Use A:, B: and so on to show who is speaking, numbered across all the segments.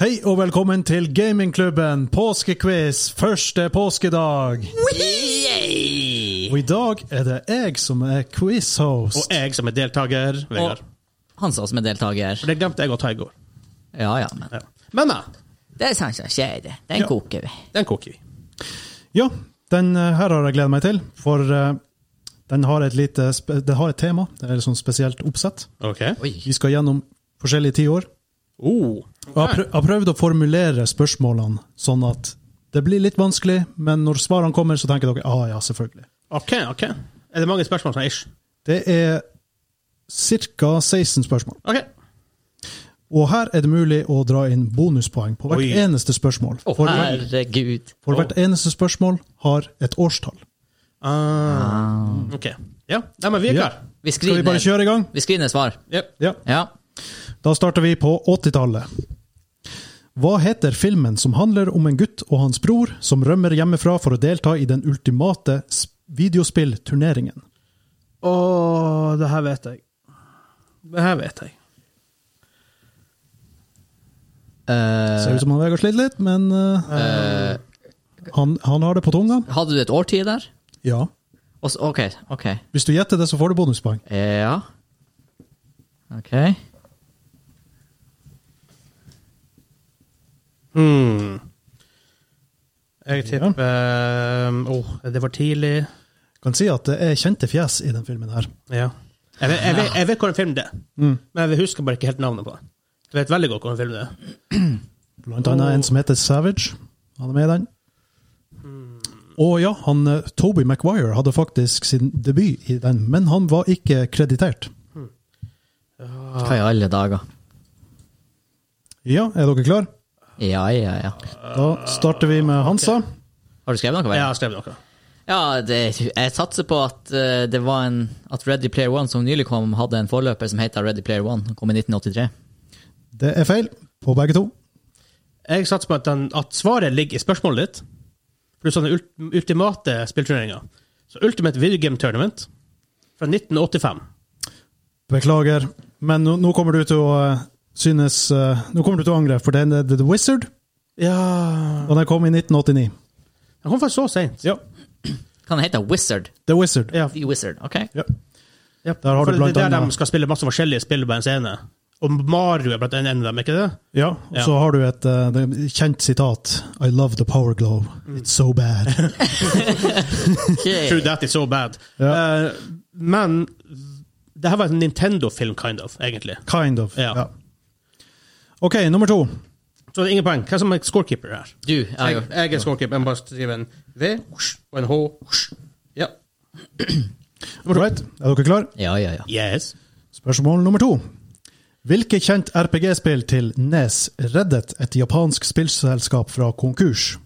A: Hei og velkommen til gamingklubben påskequiz første påskedag. Og i dag er det jeg som er quizhost.
B: Og jeg som er deltaker,
C: Og
B: Vegard.
C: han sa som er deltaker.
B: For det glemte jeg å ta i går.
C: Ja, ja, men
B: Ja. Men, men.
C: det er sånn som skjer. det. Den
B: Ja.
C: koker vi.
B: Den koker vi.
A: Ja, den eh, her har jeg gledet meg til, for eh, den har et lite spe det har et tema. Det er et sånn spesielt oppsett.
B: OK.
C: Oi.
A: Vi skal gjennom forskjellige tiår.
B: Oh.
A: Og jeg har prøv- jeg har prøvd å formulere spørsmålene sånn at det blir litt vanskelig, men når svarene kommer, så tenker dere ah, ja, selvfølgelig.
B: OK, OK. Er det mange spørsmål sånn ish?
A: Det er ca. 16 spørsmål.
B: OK.
A: Og her er det mulig å dra inn bonuspoeng på hvert
B: Oi.
A: eneste spørsmål.
C: Å,
A: For,
C: herregud.
A: for hvert eneste spørsmål har et årstall.
B: Ah. OK. Ja. Nei, men vi er
A: Ja.
B: klare.
C: Vi
A: Skal vi
C: skriver
A: bare
C: ned,
A: kjøre i gang?
C: vi skriver ned svar.
B: Ja.
A: Ja.
C: Ja.
A: Da starter vi på 80-tallet. Hva heter filmen som handler om en gutt og hans bror som rømmer hjemmefra for å delta i den ultimate s- videospillturneringen?
B: Å, det her vet jeg. Det her vet jeg.
C: Eh,
A: Ser ut som han Vegard sliter litt, men eh,
C: eh,
A: han, han har det på tunga.
C: hadde du et årtid der?
A: Ja.
C: Og så- OK. ok.
A: Hvis du gjetter det, så får du bonuspoeng.
C: Ja. OK.
B: Hmm. Jeg tipper Åh, det var tidlig.
A: Kan si at det er kjente fjes i den filmen her.
B: Ja. Jeg vet, jeg vet, jeg vet hvilken film det er, men jeg husker bare ikke helt navnet på den. Du vet veldig godt hvilken film det er.
A: Blant annet en som heter Savage. Han er med i den. Hmm. Og ja, han, eh, Toby Maguire hadde faktisk sin debut i den, men han var ikke kreditert.
C: Hva i alle dager?
A: Ja, er dere klar?
C: Ja, ja, ja.
A: Da starter vi med Hansa.
C: Har du skrevet noe?
B: Jeg
C: Ja,
B: har skrevet noe.
C: ja det, jeg satser på at eh, det var en At Ready Player One, som nylig kom, hadde en forløper som heter Ready Player One. Den kom i 1983.
A: Det er feil på begge to.
B: Jeg satser på at, den, at svaret ligger i spørsmålet ditt. Pluss den ult ultimate spillturneringa. Så Ultimate Video Game Tournament fra 1985.
A: Beklager, men nå, nå kommer du til å eh, synes eh, Nå kommer du til å angre, for den er The Wizard,
B: Ja
A: og den kom i 1989.
B: Den kom faktisk så seint.
A: Ja.
C: Kan den hete Wizard?
A: The Wizard.
B: Ja.
C: The Wizard, OK.
A: Ja. Der har
B: For
A: du blant
B: det er der de
A: annet
B: skal spille masse forskjellige spill på en scene. Og Mario er blant annet en av dem, ikke det?
A: Ja, og så har du et eh, det- kjent sitat. I love the power glow. It's so bad.
B: True that is so bad.
A: Ja.
B: Eh, men det her var en Nintendo-film, kind of, egentlig.
A: Kind of.
B: Ja.
A: OK, nummer to.
B: Så det er ingen poeng. Hvem som er scorekeeper her?
C: Du, jeg har
B: Jeg,
C: gjort
B: jeg er scorekeeper. Jeg må bare skrive en V og en H. Ja.
A: Right. Er dere klare?
C: Ja, ja, ja.
B: Yes.
A: Spørsmål nummer to. Hvilket kjent RPG-spill til Nes reddet et japansk spillselskap fra konkurs?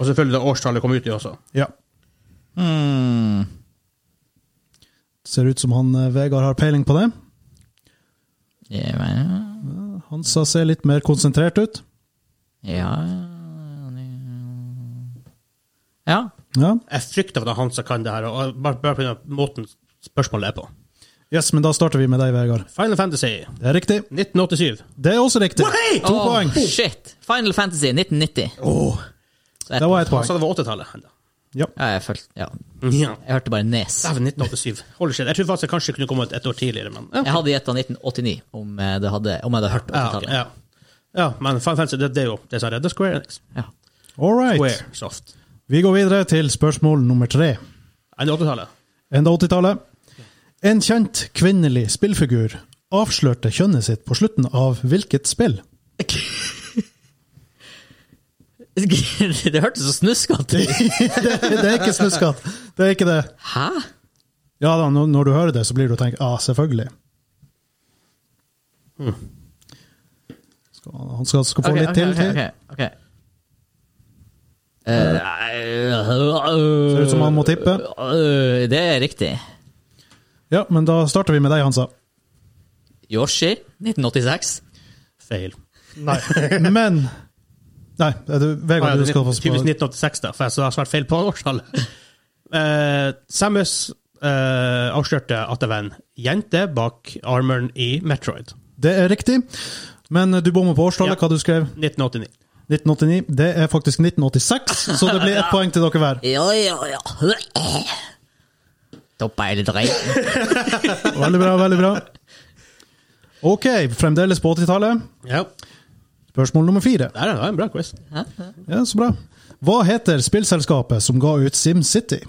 B: Og selvfølgelig det årstallet kom ut i også.
A: Ja. Ser ut som han eh, Vegard har peiling på det.
C: Ja, men-
A: Hansa ser litt mer konsentrert ut.
C: ja. Ja.
A: Ja.
B: Jeg frykter at Hansa kan det her, og bare, bare på grunn av måten spørsmålet er på.
A: Yes, men da starter vi med deg, Vegard.
B: Final Fantasy
A: Det er riktig.
B: 1987.
A: Det er også riktig.
B: Wahey!
A: To
C: Åh,
A: poeng.
C: Shit! Final Fantasy 1990. Så et-
A: Det var ett
B: Han
A: poeng.
B: sa det var 80-tallet.
A: Ja.
C: Ja, jeg følte Ja.
B: Ja.
C: Jeg hørte bare E Nes.
B: Dæven, 1987. Holy shit. Jeg tror faktisk jeg kanskje kunne kommet et år tidligere, men ja.
C: Jeg hadde gjetta 1989 om jeg, det hadde, om jeg hadde hørt
B: Ja, ok,
C: 80-tallet.
B: ja. ja, men Final Fantasy, det, det er jo det som er redda Square Enix.
C: Ja.
A: All right.
B: Square Soft.
A: Vi går videre til spørsmål nummer tre.
B: Enn 80-tallet.
A: Enda 80-tallet. En kjent kvinnelig spillfigur avslørte kjønnet sitt på slutten av hvilket spill?
C: det hørtes så snuskete ut.
A: Det, det er ikke snuskatt. Det er ikke det.
C: Hæ?
A: Ja da, når, når du hører det, så blir du tenkt ah, selvfølgelig.
B: Hmm.
A: Skal, han skal, skal få
C: Ok,
A: litt
C: ok,
A: til.
C: ok,
A: til.
C: ok, ok. Øh, Eh,
A: Ser ut som han må tippe.
C: eh, det er riktig.
A: Ja, men da starter vi med deg, Hansa.
C: Yoshi, 1986.
B: Feil.
A: Nei. Men Nei, er du,
B: Ah, ja,
A: Vegard,
B: det
A: du skal
B: er
A: få
B: typisk
A: spørre.
B: 1986, da, for jeg har svart feil på årstallet. Eh, Samus eh, avslørte at det var en jente bak armoren i Metroid.
A: Det er riktig. Men eh, du bommer på årstallet,
B: Ja.
A: hva du skrev?
B: 1989.
A: 1989. Det er faktisk 1986, så det blir ett poeng til dere hver.
C: Ja, ja, ja. Toppa hele dreien.
A: Veldig bra, veldig bra. Ok, fremdeles på 80-tallet.
B: Ja.
A: Spørsmål nummer fire.
B: Det er det er en bra quiz.
A: Ja, så bra. Hva heter spillselskapet som ga ut SimCity?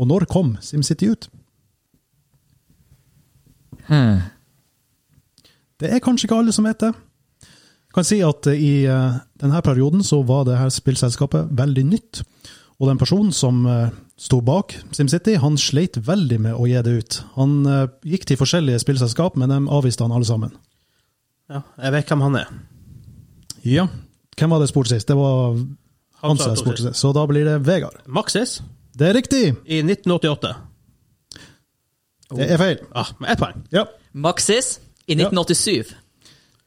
A: Og når kom SimCity ut?
C: Hmm.
A: Det er kanskje ikke alle som vet det. Jeg kan si at eh, i eh, denne perioden så var det her spillselskapet veldig nytt. Og den personen som eh, sto bak SimCity, han sleit veldig med å gi det ut. Han eh, gikk til forskjellige spillselskap, men de avviste han alle sammen.
B: Ja, jeg vet hvem han er.
A: Ja. Hvem var det jeg spurte sist? Det var han som jeg spurte sist. Så da blir det Vegard.
B: Maxis
A: Det er riktig!
B: i 1988.
A: Det er feil.
B: Ah, med ett poeng.
A: Ja.
C: Maxis i 1987.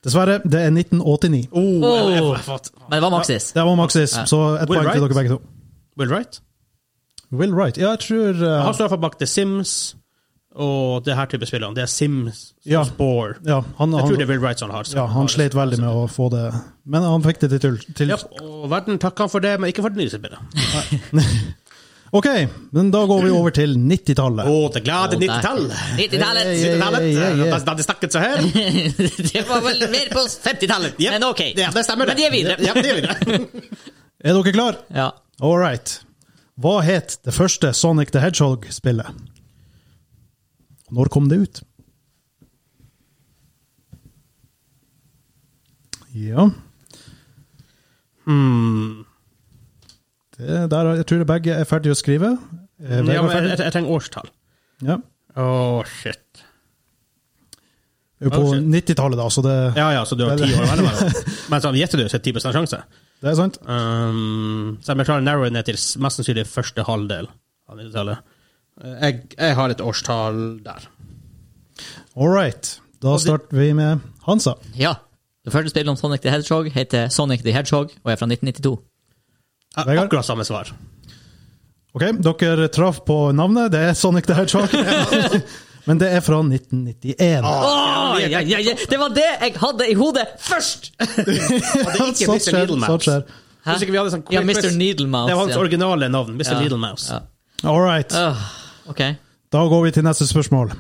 A: Dessverre, det er 1989.
B: Oh, jeg, jeg,
C: Oh.
B: jeg, fatt.
C: Men det var Maxis.
A: Det var Maxis, så et
B: Will
A: poeng til
B: Wright?
A: dere begge to.
B: Will Wright?
A: Will Wright. Ja, jeg tror eh,
B: Han står iallfall bak The Sims og det her type spillene. Det er Sims og
A: Ja.
B: Spore.
A: ja, han,
B: Jeg tror det
A: han,
B: er Will Wright som har.
A: ja, han slet veldig med å få det Men han fikk det til. til.
B: Ja, og verden takker han for det, men ikke for det nye spillet.
A: OK, men da går vi over til 90-tallet.
B: Å, det glade
C: Å, der.
B: 90-tallet!
C: 90-tallet!
A: Hey, hey, hey.
B: 90-tallet,
A: Ja, ja, ja.
B: Da- Da de snakket så her.
C: Det var vel mer på 50-tallet,
B: Ja.
C: men ok.
B: Ja, det stemmer.
C: Men de er videre.
B: Ja, de er videre.
A: Er dere klare?
C: Ja.
A: All right. Hva het det første Sonic the Hedgehog-spillet? Og når kom det ut? Ja Mm.
B: Hmm.
A: det der, Jeg tror begge er ferdige å skrive. Eh,
B: Ja,
A: Vegard
B: men
A: ferdig?
B: jeg, jeg trenger årstall.
A: Ja.
B: Å, shit.
A: Vi er På
B: Oh, shit.
A: 90-tallet, da, så det,
B: Ja ja, så du har ti år mellom deg. Men sånn, gjetter du, så er det 10 sjanse.
A: det er sant.
B: Um, så jeg klarer å narrowe ned til s- mest sannsynlig første halvdel av 90-tallet. Eh, Jeg, jeg har et årstall der.
A: All right. Da starter vi med Hansa.
C: ja. Det første spillet om Sonic the Hedgehog heter Sonic the Hedgehog og er fra 1992.
B: Ja,
A: Vegard?
B: Akkurat samme svar.
A: Ok, Dere traff på navnet. Det er Sonic the Hedgehog. Men det er fra 1991.
B: Ah,
C: Åh, ja, ja, ja. Det var det jeg hadde i hodet først!
B: Og det er
A: Sånt
B: ikke Mr.
A: Sånn skjer,
B: Needle
A: sånt
B: Mouse.
A: skjer.
C: Hæ?
B: Husker ikke vi hadde sånn
C: Ja,
B: quick
C: Mr.
B: quiz?
C: Needle Mouse.
B: Det var hans
C: ja.
B: originale navn. Mr.
C: Ja.
B: Needle Mouse.
C: Ja.
A: All right.
C: Åh, ok.
A: Da går vi til neste spørsmål.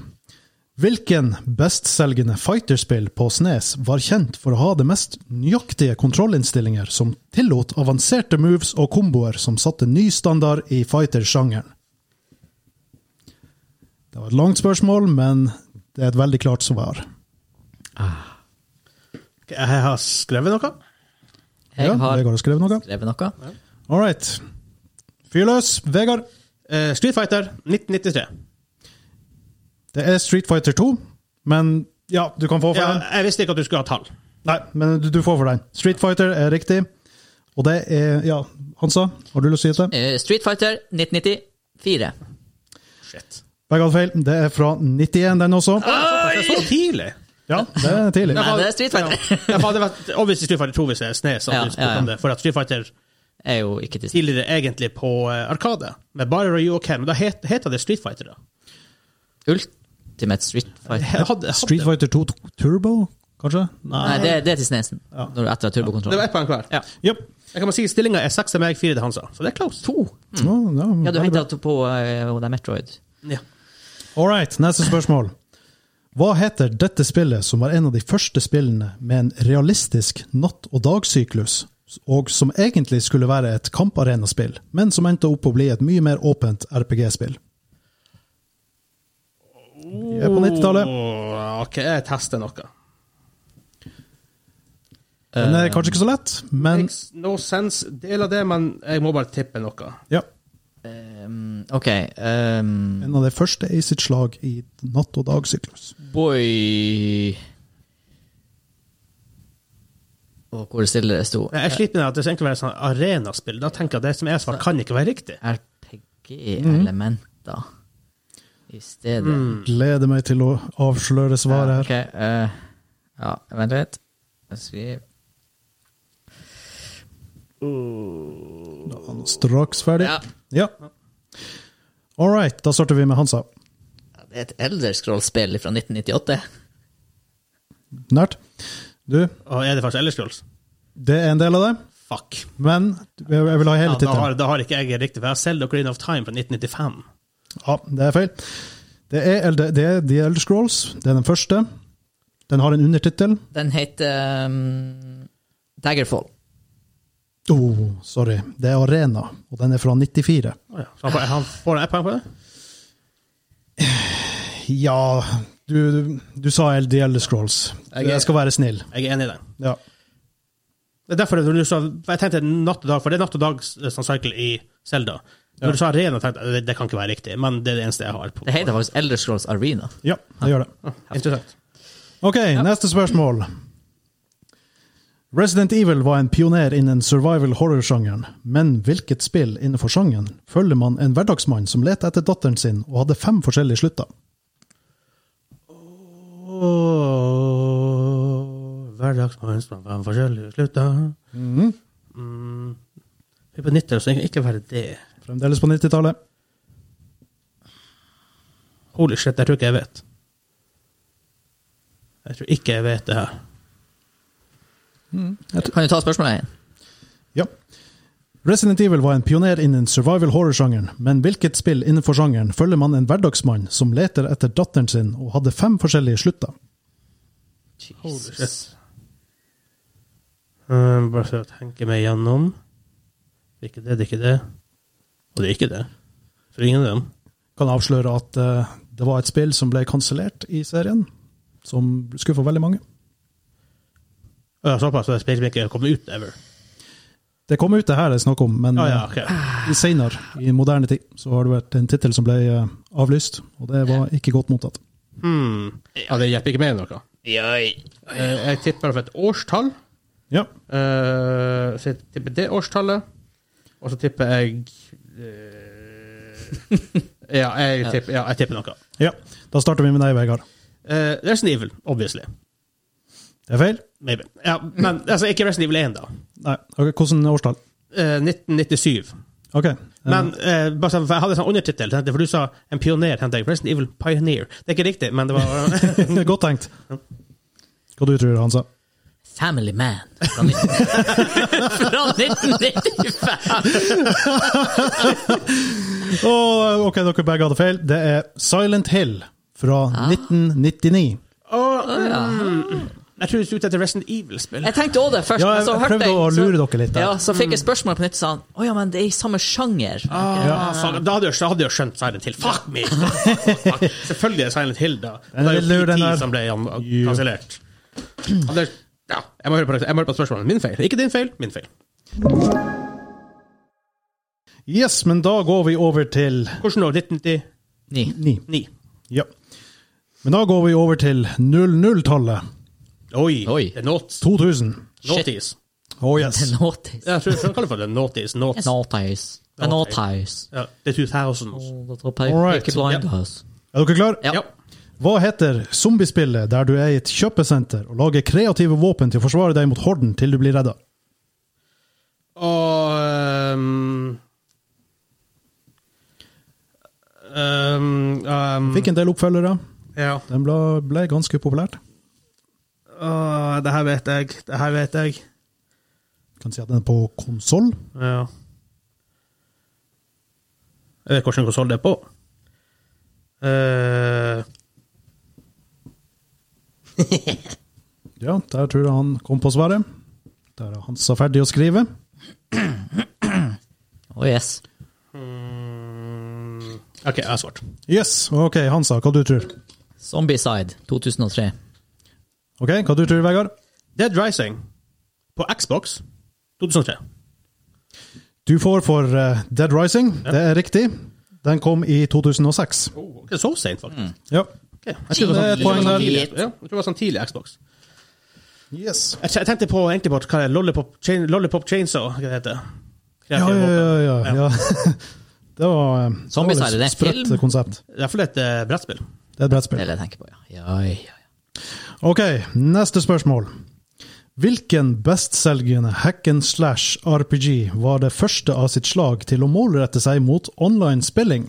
A: Hvilken bestselgende fighterspill på Snes var kjent for å ha det mest nøyaktige kontrollinnstillinger som tillot avanserte moves og komboer som satte ny standard i fighter-sjangeren? Det var et langt spørsmål, men det er et veldig klart svar.
B: Ok, Jeg har skrevet noe.
C: Jeg
A: ja,
C: har
A: Vegard har skrevet noe.
C: skrevet noe.
A: All right. Fyr løs, Vegard.
B: Eh, Street Fighter 1993.
A: Det er Street Fighter 2, men ja, du kan få for
B: Ja,
A: den.
B: jeg visste ikke at du skulle ha tall.
A: Nei, men du, du får for den. Street Fighter er riktig. Og det er Ja, Hansa, har du lyst til å gjette?
C: Eh, Street Fighter 1994.
B: Shit.
A: Begge hadde feil. Det er fra 91, den også.
B: Det er så tidlig!
A: Ja, det er tidlig.
C: Nei, det er Street Fighter.
B: Ja, for det var obviously Street Fighter 2 hvis det er snes.
C: Ja,
B: Ja,
C: ja, ja.
B: For at Street Fighter
C: Er jo ikke til
B: tidligere egentlig på eh, Arkade, med bare Ryu og Ken. Da het, heter det Street Fighter, da.
C: Ultimate Street Fighter.
B: Jeg hadde, jeg hadde.
A: Street Fighter 2 Turbo, kanskje?
C: Nei, det, det er til Snesen. Når du etter
B: Det var
C: turbokontrollen.
B: ett poeng hver.
C: Ja.
A: Yep.
B: Jeg kan bare si Stillinga er seks til meg, fire til Hansa. Så det er close.
C: To.
A: Ja, ja,
C: Ja, du
A: veldig bra.
C: henta på eh, og det er Metroid.
B: Ja.
A: All right, neste spørsmål. Hva heter dette spillet som var en av de første spillene med en realistisk natt- og dagsyklus, og som egentlig skulle være et kamparenaspill, men som endte opp å bli et mye mer åpent RPG-spill? Vi er på 90-tallet.
B: Åh, ok, jeg tester noe.
A: Den er kanskje ikke så lett, men
B: Makes no sense, del av det, men jeg må bare tippe noe.
A: ja,
C: Ehm, ok. ehm,
A: en av de første i sitt slag i natt- og dagsyklus.
C: boy Å, hvor stille det sto.
B: Jeg sliter med at det skal egentlig være sånn arenaspill. Da tenker jeg at det som er svar, kan ikke være riktig.
A: Mhm.
C: RPG-elementer i stedet.
A: Gleder meg til å avsløre svaret Mm,
C: Ja,
A: her.
C: ok, eh, ja, vent litt. Jeg skriver
A: Han er Straks ferdig.
C: Ja.
A: Ja. All right, da starter vi med Hansa.
C: Ja, Det er et Elder Scrolls-spill fra 1998.
A: nært. Du,
B: Og er det faktisk Elder Scrolls?
A: det er en del av det,
B: Fuck.
A: men jeg vil ha
B: Ja,
A: hele
B: da,
A: tittelen.
B: har, da har ikke jeg riktig, for jeg har Zelda Ocarina of Time fra 1995.
A: Ja, det er feil. Det er, Eld- det er The Elder Scrolls. Det er den første. Den har en undertittel.
C: Den heter um, Daggerfall.
A: Oh, sorry. Det er Arena, og den er fra 94.
B: Å ja. Så han får, han får ett poeng på det?
A: Ja, du, du, du sa El- The Elder Scrolls.
C: Jeg er-
A: Jeg skal være snill.
B: Jeg er enig i det.
A: Ja.
B: Det er derfor du sa, for jeg tenkte natt og dag, for det er natt og dag sånn cycle i Zelda. Når du sa arena, tenkte jeg det, det kan ikke være riktig, men det er det eneste jeg har. på.
C: Det heter faktisk Elder Scrolls Arena.
A: ja, det gjør det.
B: Interessant.
A: Ok, neste spørsmål. Resident Evil var en pioner innen survival horror-sjangeren, men hvilket spill innenfor sjangeren følger man en hverdagsmann som leter etter datteren sin og hadde fem forskjellige slutter?
B: Åh, Hverdagsmanns blant hvem forskjellige slutter Mhm. mm. Vi er på 90, så det kan ikke være det.
A: Fremdeles på 90-tallet.
B: Holy shit, jeg tror ikke jeg vet. Jeg tror ikke jeg vet det her.
C: Kan du ta spørsmålet igjen?
A: Ja. Resident Evil var en pioner innen survival horror-sjangeren, men hvilket spill innenfor sjangeren følger man en hverdagsmann som leter etter datteren sin og hadde fem forskjellige slutter?
B: Holy shit. Um, bare for å tenke meg gjennom. Det er ikke det, det er ikke det. Og det er ikke det. For ingen av dem.
A: Kan avsløre at eh, det var et spill som ble kansellert i serien, som skuffa veldig mange.
B: Å ja, såpass, så det er spill som ikke kommer ut ever.
A: Det kom ut det her det er snakk om, men
B: Å
A: eh,
B: ja, ok.
A: I senere, i moderne tid, så har det vært en tittel som ble eh, avlyst, og det var ikke godt mottatt.
B: Hmm. Ja, det hjelper ikke mer enn noe. Eh, Jeg tipper for et årstall.
A: Ja,
B: Eh, Så jeg tipper det årstallet. Og så tipper jeg eh, ja, jeg tipper, ja, jeg tipper noe.
A: ja. Da starter vi med deg, Vegard.
B: Uh, Resident Evil, obviously.
A: Det er feil?
B: Maybe. Ja, men altså, ikke Resident Evil 1, da.
A: Nei. Ok, hvordan årstall?
B: Eh, 1997.
A: Ok. eh,
B: Men eh, bare sånn, for jeg hadde en sånn undertittel, tenkte jeg, for du sa en pioner. tenkte jeg, Resident Evil Pioneer. Det er ikke riktig, men det var
A: godt tenkt. Hva du tror han sa?
C: Family Man. Fra 19 fra 1995!
A: Å, ok, dere begge hadde feil. Det er Silent Hill fra 1999.
B: Å,
C: ja.
B: mm. Jeg tror du skulle ut etter Resident Evil-spill.
C: Jeg tenkte også det først.
A: Ja,
C: men
A: jeg,
C: så
A: jeg
C: hørte
A: prøvde å
C: så-
A: lure dere litt der. Mm.
C: Ja, så fikk jeg spørsmål på nytt, sa han å ja, men det er i samme sjanger.
B: Ah, fuck, da hadde jeg, da hadde jeg skjønt Silent Hill. Fuck me! Fuck, fuck, fuck. Selvfølgelig er det Silent Hill, da. Det er
A: Den
B: jo
A: lurer den
B: PT
A: der.
B: som ble an-
A: Jo.
B: kansellert. Anders, Ja, jeg må høre på, det- jeg må høre på spørsmålet. Min feil. Ikke din feil, min feil.
A: Yes, men da går vi over til
B: Hvordan år? 1999?
C: Ni.
A: ni. Ja. Men da går vi over til 00-tallet.
B: Oi.
C: Oi.
B: Det er noughts.
A: 2000.
B: Noughties.
A: Oh yes.
C: Notis.
B: Ja, Jeg tror jeg kaller det for det. Noughties. Noughts.
C: Notis. Notis.
B: Ja, det er 2000s.
A: Alright.
C: Ikke blind us.
A: Er dere klare?
C: Ja.
B: Ja.
A: Hva heter zombiespillet der du er i et kjøpesenter og lager kreative våpen til å forsvare deg mot horden til du blir redda?
B: Og ehm, ehm, ehm,
A: Fikk en del oppfølgere.
B: Ja.
A: Den ble, ble ganske populært.
B: Åh, det her vet jeg. Det her vet jeg.
A: Kan si at den er på konsoll.
B: Ja. Jeg vet hvilken konsoll det er på. Eh,
A: Ja, der tror jeg han kom på svaret. Der er han sa ferdig å skrive.
C: Oh yes.
B: mm, OK, jeg har svart.
A: Yes, ok, Hansa, hva du tror?
C: Zombieside 2003.
A: Ok, hva du tror, Vegard?
B: Dead Rising på Xbox 2003.
A: Du får for eh, Dead Rising, det er riktig. Den kom i 2006.
B: Oh, okay. Så seint, faktisk.
A: Ja.
B: Ok, Jeg tror det
A: Det er
B: var
A: et
B: sånn,
A: poeng
B: sånn
A: der.
B: tidlig, ja, jeg tror det var sånn tidlig Xbox.
A: Yes.
B: Jeg, jeg tenkte på egentlig på hva det er, Lollipop, Chain, Lollipop Chainsaw, hva det heter det?
A: Ja, ja, ja. ja, ja. Det var eh,
C: Zombieside, det er en
A: sprøtt
C: film?
A: konsept.
B: I hvert fall et eh, brettspill.
A: Det er et brettspill.
C: Det er det jeg tenker på, ja. ja, ja, ja.
A: Ok, neste spørsmål. Hvilken bestselgende hack and slash RPG var det første av sitt slag til å målrette seg mot online spilling?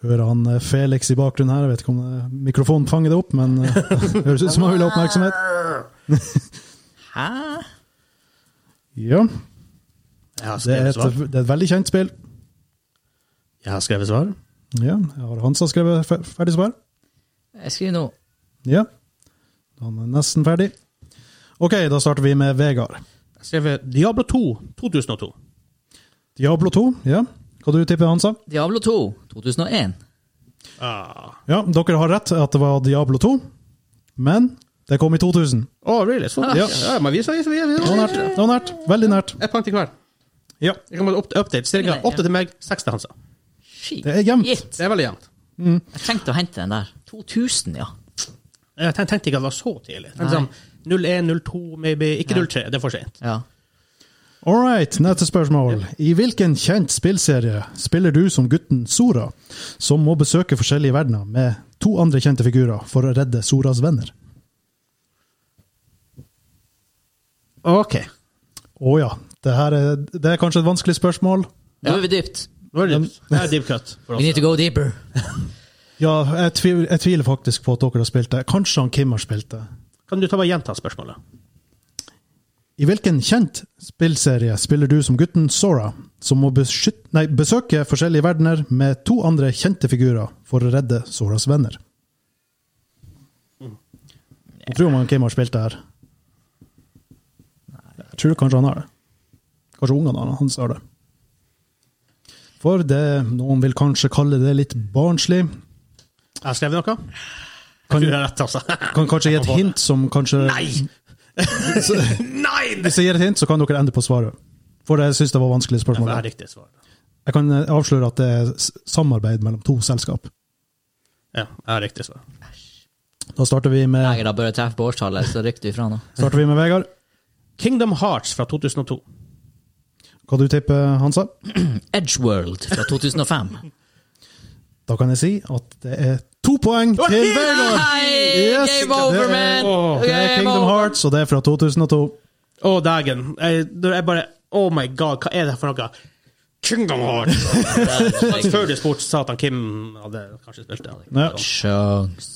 A: Hører han eh, Felix i bakgrunnen her? Jeg vet ikke om eh, mikrofonen fanger det opp, men eh, høres ut som han vil ha oppmerksomhet.
C: Hæ?
A: Ja,
B: Jeg har
A: det er,
B: skrevet
A: et,
B: svar.
A: det er et veldig kjent spill.
B: Jeg har skrevet svar.
A: Ja, jeg har Hansa skrevet fe- ferdig svar.
C: Jeg skriver nå.
A: Ja, han er nesten ferdig. Ok, da starter vi med Vegard.
B: Jeg har skrevet Diablo 2 2002.
A: Diablo 2, ja. Hva du tipper, Hansa?
C: Diablo 2 2001.
B: Ah.
A: Ja, dere har rett at det var Diablo 2, men det kom i 2000.
B: Å, Oh, really? Så,
C: Ah.
B: ja. ja, men vi sa vi sa- vi-
A: Det var nært,
B: vi-
A: det var nært. Veldig nært.
B: Et poeng til hver.
A: Ja,
B: Det kommer en opp- update. Stillinga
C: Nei, ja.
B: åtte til meg, seks til Hansa.
C: Shit.
A: Det er jevnt.
C: Gitt.
B: Det er veldig jevnt.
C: Jeg trengte å hente den der. 2000, ja.
B: Jeg ten- tenkte ikke at det var så tidlig. Jeg Tenkte
C: Nei.
B: sånn 01, 02, maybe. Ikke
C: Nei.
B: 03, det er for sent.
C: ja.
A: All right, neste spørsmål. I hvilken kjent spillserie spiller du som gutten Sora, som må besøke forskjellige verdener med to andre kjente figurer for å redde Soras venner?
B: OK.
A: Å ja, det, her er, det er kanskje et vanskelig spørsmål.
C: Nå er vi dypt.
B: Nå er det dypt. Det er deep cut for
C: We
B: oss.
C: need to go deeper.
A: Ja, jeg tviler, jeg tviler faktisk på at dere har spilt det. Kanskje han Kim har spilt det.
B: Kan du ta bare gjenta spørsmålet?
A: I hvilken kjent spillserie spiller du som gutten Sora, som må beskytte, nei, besøke forskjellige verdener med to andre kjente figurer for å redde Soras venner? Jeg tror man Kim har spilt det her. Jeg tror kanskje han har det. Kanskje ungene han- hans har det. For det noen vil kanskje kalle det litt barnslig.
B: Jeg har skrevet noe.
A: Kan,
B: Du har rett, altså.
A: kan kanskje gi et hint som kanskje
B: Nei! Nei! Det
A: Hvis jeg gir et hint, så kan dere endre på svaret. For jeg syns det var vanskelig
B: er for
A: spørsmål.
B: det er riktig svar.
A: Jeg kan eh, avsløre at det er s- samarbeid mellom to selskap.
B: Ja, jeg har riktig svar.
A: Da starter vi med,
C: Jeg da bør jeg treffe på årstallet, så rykker du ifra nå.
A: starter vi med Vegard.
B: Kingdom Hearts fra 2002.
A: Hva du tipper, Hansa?
C: Edgeworld fra 2005.
A: Da kan jeg si at det er to poeng til Vegard!
C: Hei!
A: Yes,
C: Game over,
A: det er-
C: man!
B: Åh,
A: Det er
C: Game
A: Kingdom
C: over.
A: Hearts, og det er fra 2002.
B: Å, dagen. Jeg, da jeg bare Oh my god, hva er det for noe? Kingdom Hearts! Før du spurte, sa at han Kim hadde kanskje spilt det.
A: Ja.
C: Sjans.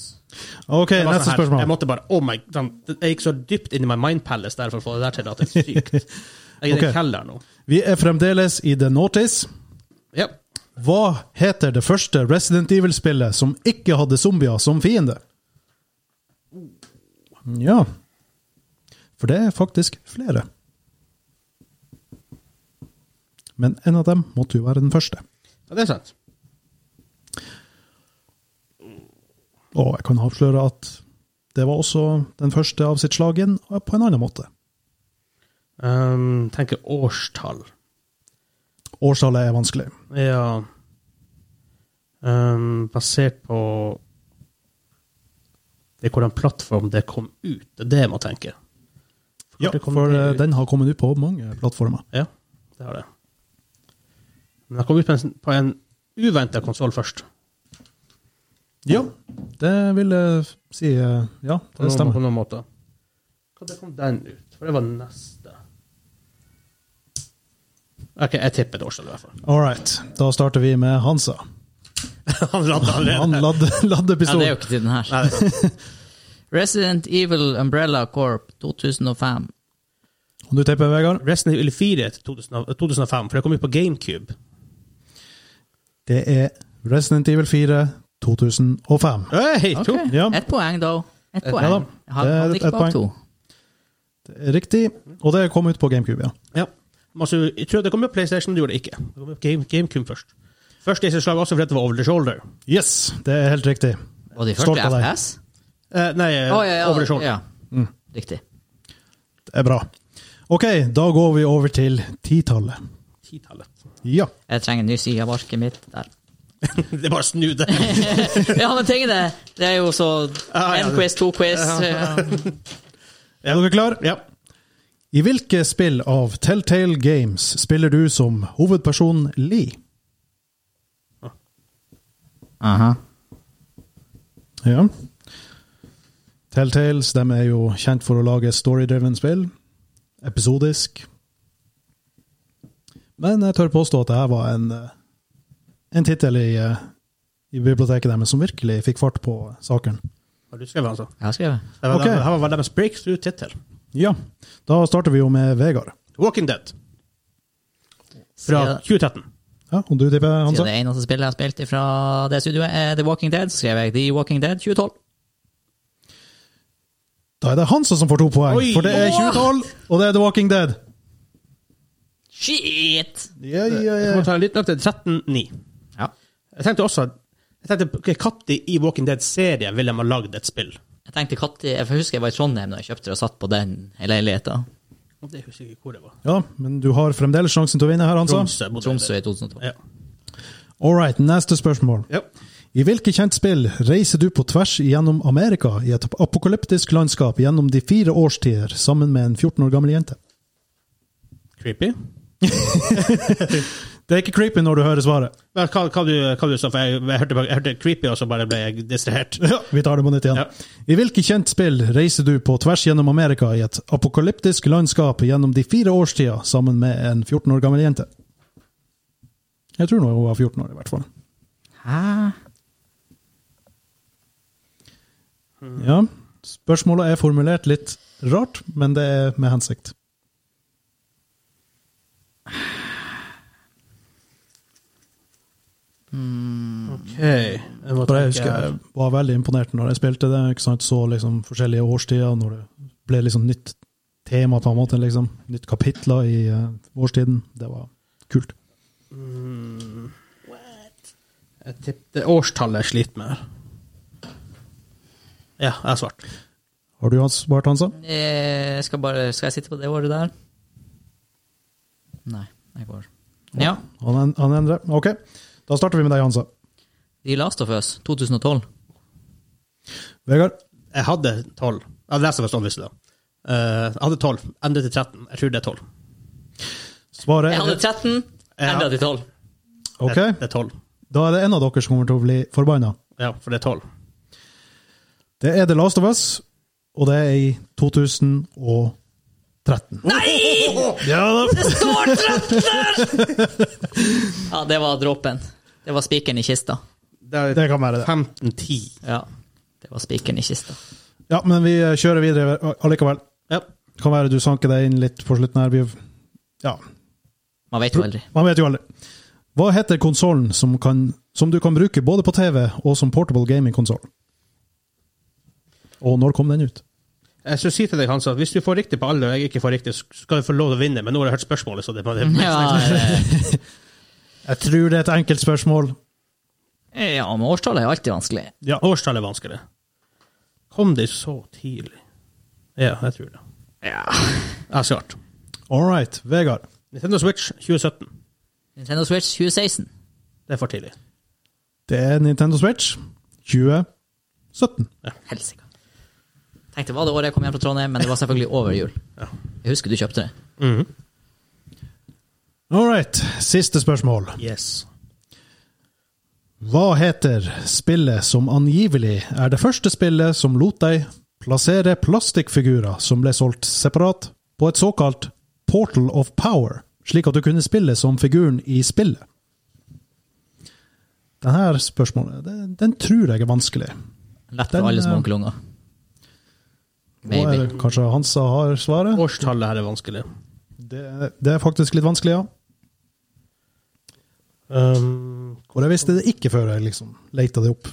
A: Ok,
B: Det var sånn
A: neste
B: her, Jeg
A: spørsmål.
B: måtte bare Oh my den, Jeg gikk så dypt inn i my mind palace der for å få det der til at det er sykt. Jeg er i
A: Ok.
B: den kjelleren nå.
A: Vi er fremdeles i The Notice.
B: Ja.
A: Hva heter det første Resident Evil-spillet som ikke hadde zombier som fiende? Ja. For det er faktisk flere. Men en av dem måtte jo være den første.
B: ja, det er sant.
A: Og jeg kan avsløre at det var også den første av sitt slag igjen, og på en annen måte.
B: Um, tenker årstall.
A: Årstallet er vanskelig.
B: Ja um, Basert på Det er hvordan plattform det kom ut. Det er det jeg må tenke.
A: Ja,
B: det kom
A: for
B: det
A: eh,
B: ut.
A: den har kommet ut på mange plattformer.
B: Ja, det har det. Men jeg kom ut på en, på en uventa konsoll først.
A: Ja, det vil jeg si eh, Ja,
B: På
A: det
B: noen,
A: stemmer.
B: på noen måter. Når kom den ut? For det var neste. OK, jeg tipper et årstall, i hvert fall.
A: All right, da starter vi med Hansa.
B: Han radd
A: Han
B: allerede.
A: ladde, ladde
C: Ja, det er jo
A: pistolen.
C: ikke til den her. Resident Evil Umbrella Corp 2005.
A: Om du tipper, Vegard?
B: Resident Evil 4 til 2000 eh, 2005, for det kom ut på GameCube.
A: Det er Resident Evil 4 2005.
B: Hey,
C: Ok,
B: to.
A: Ja.
C: Ett poeng, da. Ett
A: Ja da,
C: poeng. Jeg hadde
A: det er
C: hadde ikke
A: ett poeng.
C: bak to.
A: Det er riktig, og det kom ut på GameCube, ja.
B: Ja. Men Altså, jeg tror det kom ut på PlayStation, men det gjorde det ikke. Det kom ut på Game, GameCube først. Først i sitt slag også fordi det var Over the Shoulder.
A: Yes, det er helt riktig.
C: Var det
A: Stolt
C: første
A: av deg.
C: FPS?
B: Eh, nei,
C: Å, ja, ja,
B: Over the Shoulder.
C: ja. Riktig.
A: Det er bra. Ok, da går vi over til titallet.
B: Titallet.
A: Ja.
C: Jeg trenger en ny side av arket mitt. Der.
B: det er bare å snu det.
C: Ja, men ting er det. Det er jo så
B: Ja, ja,
C: En
B: det-
C: quiz, to quiz. ja.
A: Er dere klar?
B: ja.
A: I hvilke spill av Telltale Games spiller du som hovedperson Lee?
C: Aha.
A: Ja. Telltales de er jo kjent for å lage storydriven spill. Episodisk. Men jeg tør påstå at det her var en, eh, en tittel i, eh, i biblioteket deres som virkelig fikk fart på saken.
B: Har du skrevet, altså?
C: Jeg har skrevet.
B: Det var,
A: Ok.
B: det var deres breakthrough-tittel.
A: Ja, da starter vi jo med Vegard.
B: Walking Dead fra
C: Siden,
B: 2013.
A: Ja, og du tipper,
C: siden
A: Hanse?
C: det eneste spillet jeg har spilt fra det studioet, er The Walking Dead, så skrev jeg The Walking Dead 2012.
A: Da er det Hanse som får to poeng,
B: Oi!
A: for det er 2012, og det er The Walking Dead.
C: Shit!
A: Ja, ja,
B: Jeg må
A: ja.
B: ta en liten opp til 13.9.
C: Ja.
B: Jeg tenkte også jeg tenkte, ok, Katti i Walking Dead-serien ville de ha lagd et spill.
C: Jeg tenkte Katti, jeg husker jeg var i Trondheim da jeg kjøpte det og satt på den i leiligheten.
B: Og Det husker jeg ikke hvor det var.
A: ja, men du har fremdeles sjansen til å vinne her, Hanse.
B: Tromsø. bodde
C: Tromsø
B: jeg
C: i 2012.
B: der. Ja.
A: All right, neste spørsmål.
B: Ja.
A: I hvilket kjent spill reiser du på tvers gjennom Amerika i et apokalyptisk landskap gjennom de fire årstider sammen med en 14 år gammel jente?
B: Creepy.
A: Det er ikke creepy når du hører svaret.
B: Men hva, hva, du, hva du sa, for jeg, jeg, hørte, bare- jeg hørte creepy, og så bare ble jeg distrahert.
A: Ja, vi tar det på nytt igjen.
B: Ja.
A: I hvilket kjent spill reiser du på tvers gjennom Amerika i et apokalyptisk landskap gjennom de fire årstider sammen med en 14 år gammel jente? Jeg tror nå hun var 14 år, i hvert fall.
C: Hæ?
A: Ja. Spørsmålet er formulert litt rart, men det er med hensikt.
B: Ok. Jeg må
A: For jeg
B: tenke-
A: husker jeg Eh, var veldig imponert når jeg spilte det. ikke sant? Så liksom forskjellige årstider, og når det ble liksom nytt tema, på en måte. liksom. Nytt kapitler i eh, årstiden. Det var kult.
B: Jeg tippte årstallet jeg sliter med. her. Ja, jeg har svart.
A: Har du svart, Hansa?
C: Eh, skal, bare, skal jeg sitte på det året der? Nei, jeg går. Ja.
A: Han, en- han endrer. Ok, da starter vi med deg, Hansa.
C: The Last of Us 2012.
A: Vegard?
B: Jeg hadde tolv. Jeg hadde lest det hvis du det. Eh, Jeg hadde tolv. Endret til 13. Jeg tror det er tolv.
A: Svaret
C: Jeg hadde
A: er
C: 13, enda til 12.
A: Ok,
B: Det, det er tolv.
A: da er det en av dere som kommer til å bli forbanna.
B: Ja, for det er tolv.
A: Det er The Last of Us, og det er i 2013. Nei! Ja, da.
C: Det står 13 ja, det var dråpen. Det var spikeren i kista.
B: Det er
A: Det kan være det.
B: 15-10.
C: Ja, det var spikeren i kista.
A: Ja, men vi eh, kjører videre allikevel.
B: Ja.
A: Kan være du sanker deg inn litt på slutten her. Vi- Ja,
C: Man vet jo aldri.
A: man vet jo aldri. Hva heter konsollen som, kan- som du kan bruke både på TV og som portable gaming-konsoll? Og når kom den ut?
B: Jeg skal si til deg, Hans, at hvis du får riktig på alle, og jeg ikke får riktig, så skal du få lov til å vinne. Men nå har jeg hørt spørsmålet, så det må det
C: Ja, eh,
A: Jeg tror det er et enkelt spørsmål.
C: eh, ja men årstallet er alltid vanskelig.
B: ja. Årstallet er vanskelig. Kom de så tidlig? Ja, jeg tror det.
C: Ja.
B: Jeg har svart.
A: All right, Vegard.
B: Nintendo Switch 2017.
C: Nintendo Switch 2016.
B: Det er for tidlig.
A: Det er Nintendo Switch 2017.
C: Helsike. Tenkte var det året jeg kom hjem fra Trondheim, men det var selvfølgelig over jul.
B: Ja.
C: Jeg husker du kjøpte det.
A: All right, siste spørsmål.
B: Yes.
A: Hva heter spillet som angivelig er det første spillet som lot deg plassere plastikkfigurer som ble solgt separat, på et såkalt Portal of Power, slik at du kunne spille som figuren i spillet? Denne spørsmålet, den, den tror jeg er vanskelig.
C: Lett
A: Den,
C: for alle
A: eh,
C: små onkelunger.
A: Og
C: Maybe.
A: er, kanskje Hansa har svaret?
B: Årstallet her er vanskelig.
A: Det, det er faktisk litt vanskelig, ja.
B: Um,
A: Og jeg visste det ikke før jeg liksom leita det opp.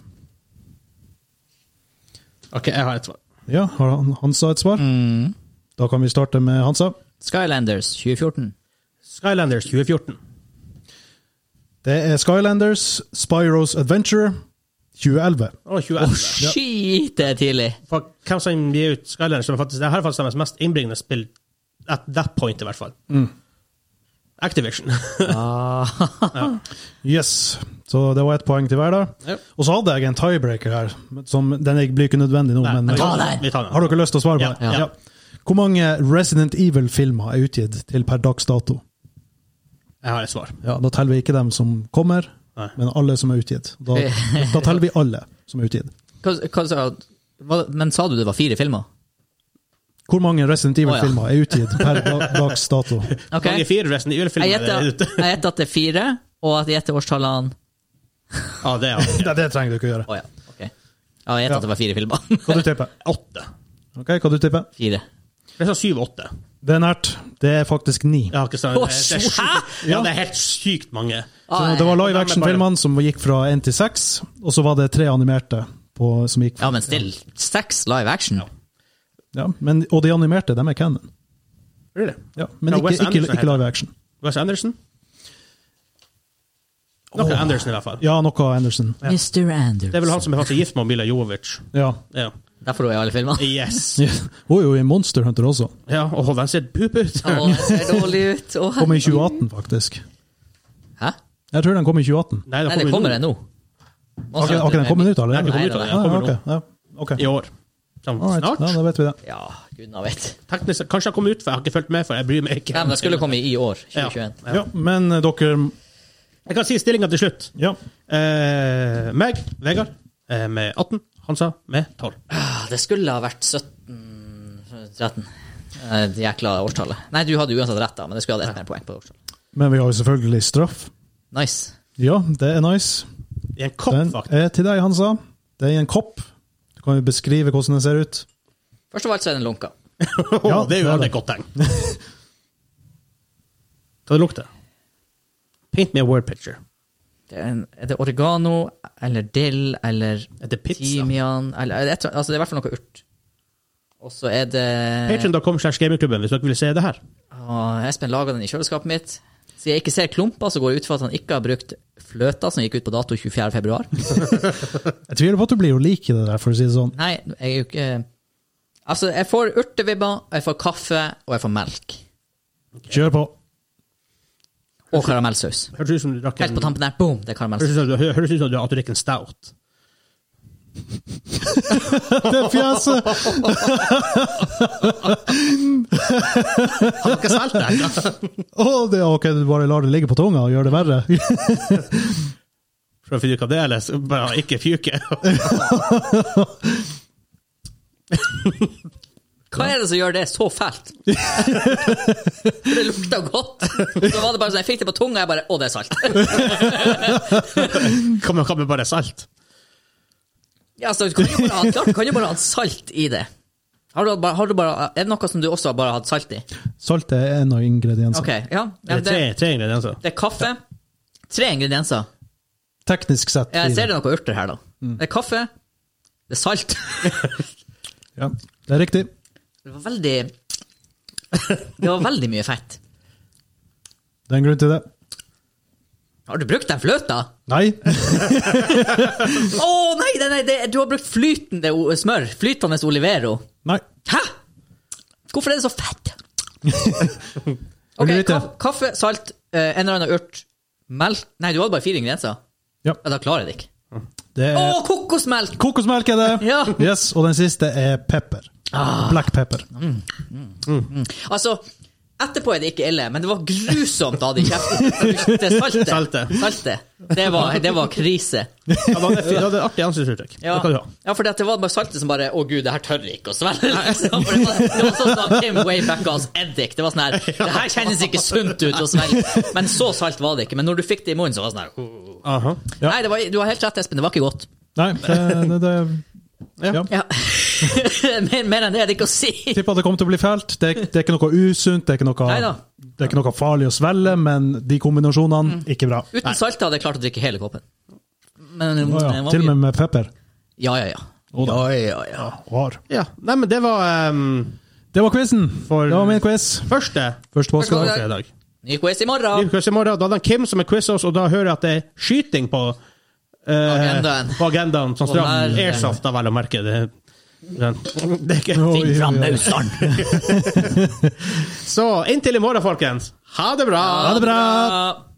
B: OK, jeg har et svar.
A: Ja, har han- Hansa et svar?
C: Mm.
A: Da kan vi starte med Hansa.
C: Skylanders 2014.
B: Skylanders 2014.
A: Det er Skylanders Spyros Adventure 2011.
B: Å, 2011.
C: Shit, det er tidlig!
B: For hvem som gir ut Skylanders, som er faktisk, det her er faktisk deres mest innbringende spill at that point, i hvert fall.
C: Mm.
B: Activision.
A: Yes. Så det var ett poeng til hver, da.
B: Ja.
A: Og så hadde jeg en tiebreaker her. Som, den er- blir ikke nødvendig nå, men
B: Nei,
C: ta
B: vi-
C: den.
B: Vi tar den.
A: har dere lyst til å svare på
B: Ja,
A: det?
B: ja.
A: Hvor mange Resident Evil-filmer er utgitt til per dags dato?
B: Jeg har et svar.
A: Ja, Da teller vi ikke dem som kommer,
B: Nei.
A: men alle som er utgitt. Da, da teller vi alle som er utgitt.
C: Hva, hva, sa- hva, men sa du det var fire filmer?
A: Hvor mange Resident
C: ja.
A: Evil-filmer er utgitt per da, dags dato?
C: Ok.
B: Mange
C: Jeg
B: fire Resident Evil-filmer er
C: gjetter
B: ute.
C: jeg gjetter at det er fire, og at jeg gjetter årstallene
B: Ja, det er han.
A: Nei, det trenger du ikke å gjøre.
C: Å ja. Ok. Ja, jeg gjetter
A: Ja.
C: at det var fire filmer.
A: Hva du tipper
B: Åtte.
A: Ok, hva du tipper?
C: fire.
B: Jeg sa syv-åtte.
A: Det er nært. Det er faktisk ni.
B: Ja, ikke sant?
C: Å,
B: Det er- det er
C: hæ?
B: sjukt- Ja, det er helt sykt mange.
A: Så
C: Ah,
A: det var
C: eh,
A: live action-filmene som gikk fra én til seks, og så var det tre animerte på, som gikk
C: Ja, men still. Seks live action.
A: Ja, men, Og de animerte, dem er canon.
B: Really?
A: Ja, men
B: Ja,
A: ikke,
B: Wes
A: ikke,
B: Anderson
A: ikke live action.
B: Wes Anderson? Noe Anderson, i hvert fall.
A: Ja, noe av Anderson.
C: Mr. Anders.
B: Det er vel han som er faktisk gift med Mila Jovovic.
A: Ja.
B: Ja.
C: Derfor er hun i alle filmene.
B: Yes.
A: Hun er jo i Monster Hunter også.
B: Ja, og den ser pup ut.
C: Å, det ser dårlig ut. Å,
A: Kom i 2018, faktisk.
C: Hæ?
A: Jeg tror den kom i 2018.
B: Nei,
C: Nei, det kommer en nå.
A: Har ikke- har ikke den kommet ut
B: Nei,
A: allerede?
B: den kommer ut
C: Nei,
B: av
C: nei,
B: det.
A: Ah,
B: Kommer
A: ok,
B: nå.
A: ja, ok.
B: I år. Sånn,
A: Alright,
B: snart?
A: Ja, da vet vi det.
C: Ja, gudene vet.
B: Teknisk sett- Kanskje jeg kom ut, for jeg har ikke fulgt med, for jeg bryr meg ikke.
C: Ja, men det skulle komme i år.
B: Ja.
C: 2021.
A: Ja, men eh, dere
B: Jeg kan si stillinga til slutt.
A: Ja.
B: Eh, meg, Vegard, eh, med 18. Hansa med 12.
C: Ah, Det skulle ha vært 17 13. Eh, Det jækla årstallet. Nei, du hadde uansett rett, da, men det skulle ha hatt ett mer poeng på årstallet.
A: Men vi har jo selvfølgelig straff.
C: Nice.
A: Ja, det er nice.
B: I en kopp,
A: Den
B: faktisk.
A: er til deg, Hansa. Det er i en kopp. Du kan jo beskrive hvordan den ser ut.
C: Først av alt så er den lunka.
A: Ja,
B: det er jo
A: det er
B: aldri et godt tegn. Hva det lukter Paint me a word picture.
C: Det er, en, er det oregano eller dill eller
B: Er det pizza?
C: timian eller, eller et, Altså, det er i hvert fall noe urt. Og så er det
B: Patreon.com slash gamingklubben hvis dere vil se det her.
C: Å, Espen laga den i kjøleskapet mitt. Siden jeg ikke ser klumper, så går jeg ut fra at han ikke har brukt fløta som gikk ut på dato 24.2.
A: Jeg tviler på at du blir å like det der, for å si det sånn.
C: Nei, jeg er jo ikke Altså, jeg får urtevibber, jeg får kaffe, og jeg får melk.
A: Kjør på.
C: Og karamellsaus.
B: Høres ut som du drakk
C: Helt
B: en
C: på tampen der, boom, det er
B: Høres
C: karamellsaus.
B: ut som du, høres ut som du, at du drikker en stout.
A: Det fjeset!
B: Har dere svelget det?
A: Å, det er ok, du bare lar det ligge på tunga og gjør det verre.
B: For å finne ut hva det er, eller så bare ikke fjuke.
C: Hva er det som gjør det så fælt? For det lukta godt. Så var det bare sånn, jeg fikk det på tunga, jeg bare Å, det er salt.
B: Kan man, kan man bare salt?
C: Ja, så kan du bare ha, klart, kan du bare ha salt i det. Har du bare, har du bare, er det noe som du også har bare hatt salt i?
A: Salt er en av ingrediensene.
C: Ok, ja.
B: Det
C: ja
B: er tre,
C: det,
B: tre ingredienser.
C: det er kaffe. Tre ingredienser.
A: Teknisk sett.
C: Jeg ser
A: fire.
C: det er noe urter her,
B: Mm.
C: da. Det er kaffe. Det er salt.
A: Ja, det er riktig.
C: Det var veldig Det var veldig mye fett.
A: Det er en grunn til det.
C: Har du brukt den fløta?
A: Nei,
C: Å nei, nei, nei det, du har brukt flytende o- smør. Flytende olivero.
A: nei.
C: Hæ? Hvorfor er det så fett?
A: Vil
C: Ok,
A: du vite?
C: kaff- kaffe, salt, eh, en eller annen urt, melk Nei, du hadde bare fire ingredienser.
A: Ja, Eh.
C: Ja, Da klarer jeg det ikke.
A: det
C: Å,
A: er
C: kokosmelk!
A: kokosmelk er det.
C: Ja. Ah.
A: Yes, og den siste er pepper. Black pepper.
C: Altså, etterpå er det ikke ille, men det var grusomt å ha det i kjeften. Det saltet.
B: Saltet.
C: Saltet. Det, var, det var krise.
B: Ja, men det er fint. Ja, det er et artig ansiktsuttrykk.
C: Ja,
B: Det kan du ha.
C: ja for det var bare saltet som bare Å, gud, det her tør jeg ikke å svelge. Liksom. For Det var, det var sånn som Kim Waybackas eddik. Det var sånn her Det her kjennes ikke sunt ut å svelge. Men så salt var det ikke. Men når du fikk det i munnen, så var det sånn her «Åh».
B: Aha.
A: Ja.
C: Nei, det var, du har helt rett, Espen. Det var ikke godt.
A: Nei, det, det, det
B: Ja.
A: ja.
C: Ja. mer, mer enn det er det ikke å si.
A: Tipper at det kommer til å bli fælt. Det, er- det er ikke noe usunt, det er ikke noe,
C: Neida.
A: det er ikke noe farlig å svelge, men de
C: Mm.
A: kombinasjonene, ikke bra.
C: Uten salt hadde jeg klart å drikke hele koppen. Men
A: Å
C: ja,
A: ja, til og med med pepper.
C: Ja, ja, ja.
A: da.
C: ja, ja.
A: Har.
B: ja. Nei, men det var ehm,
A: Det var quizen!
B: For-
A: Det var min quiz.
B: første
A: Første påske.
C: Første
B: påske i dag.
C: Ny quiz i morgen.
B: Ny quiz i morgen. Da hadde han Kim som er quiz-host, og da hører jeg at det er skyting på eh,
C: Agendaen.
B: På agendaen sånn
C: Og
B: stram.
C: der-
B: Airsoft, da, vel å merke. Det, det, det er ikke.
A: Oi, oi,
C: Finn fram
A: oi.
C: mauseren.
B: Så inntil i morgen, folkens. Ha det bra!
A: Ha det bra!
C: Ha det bra.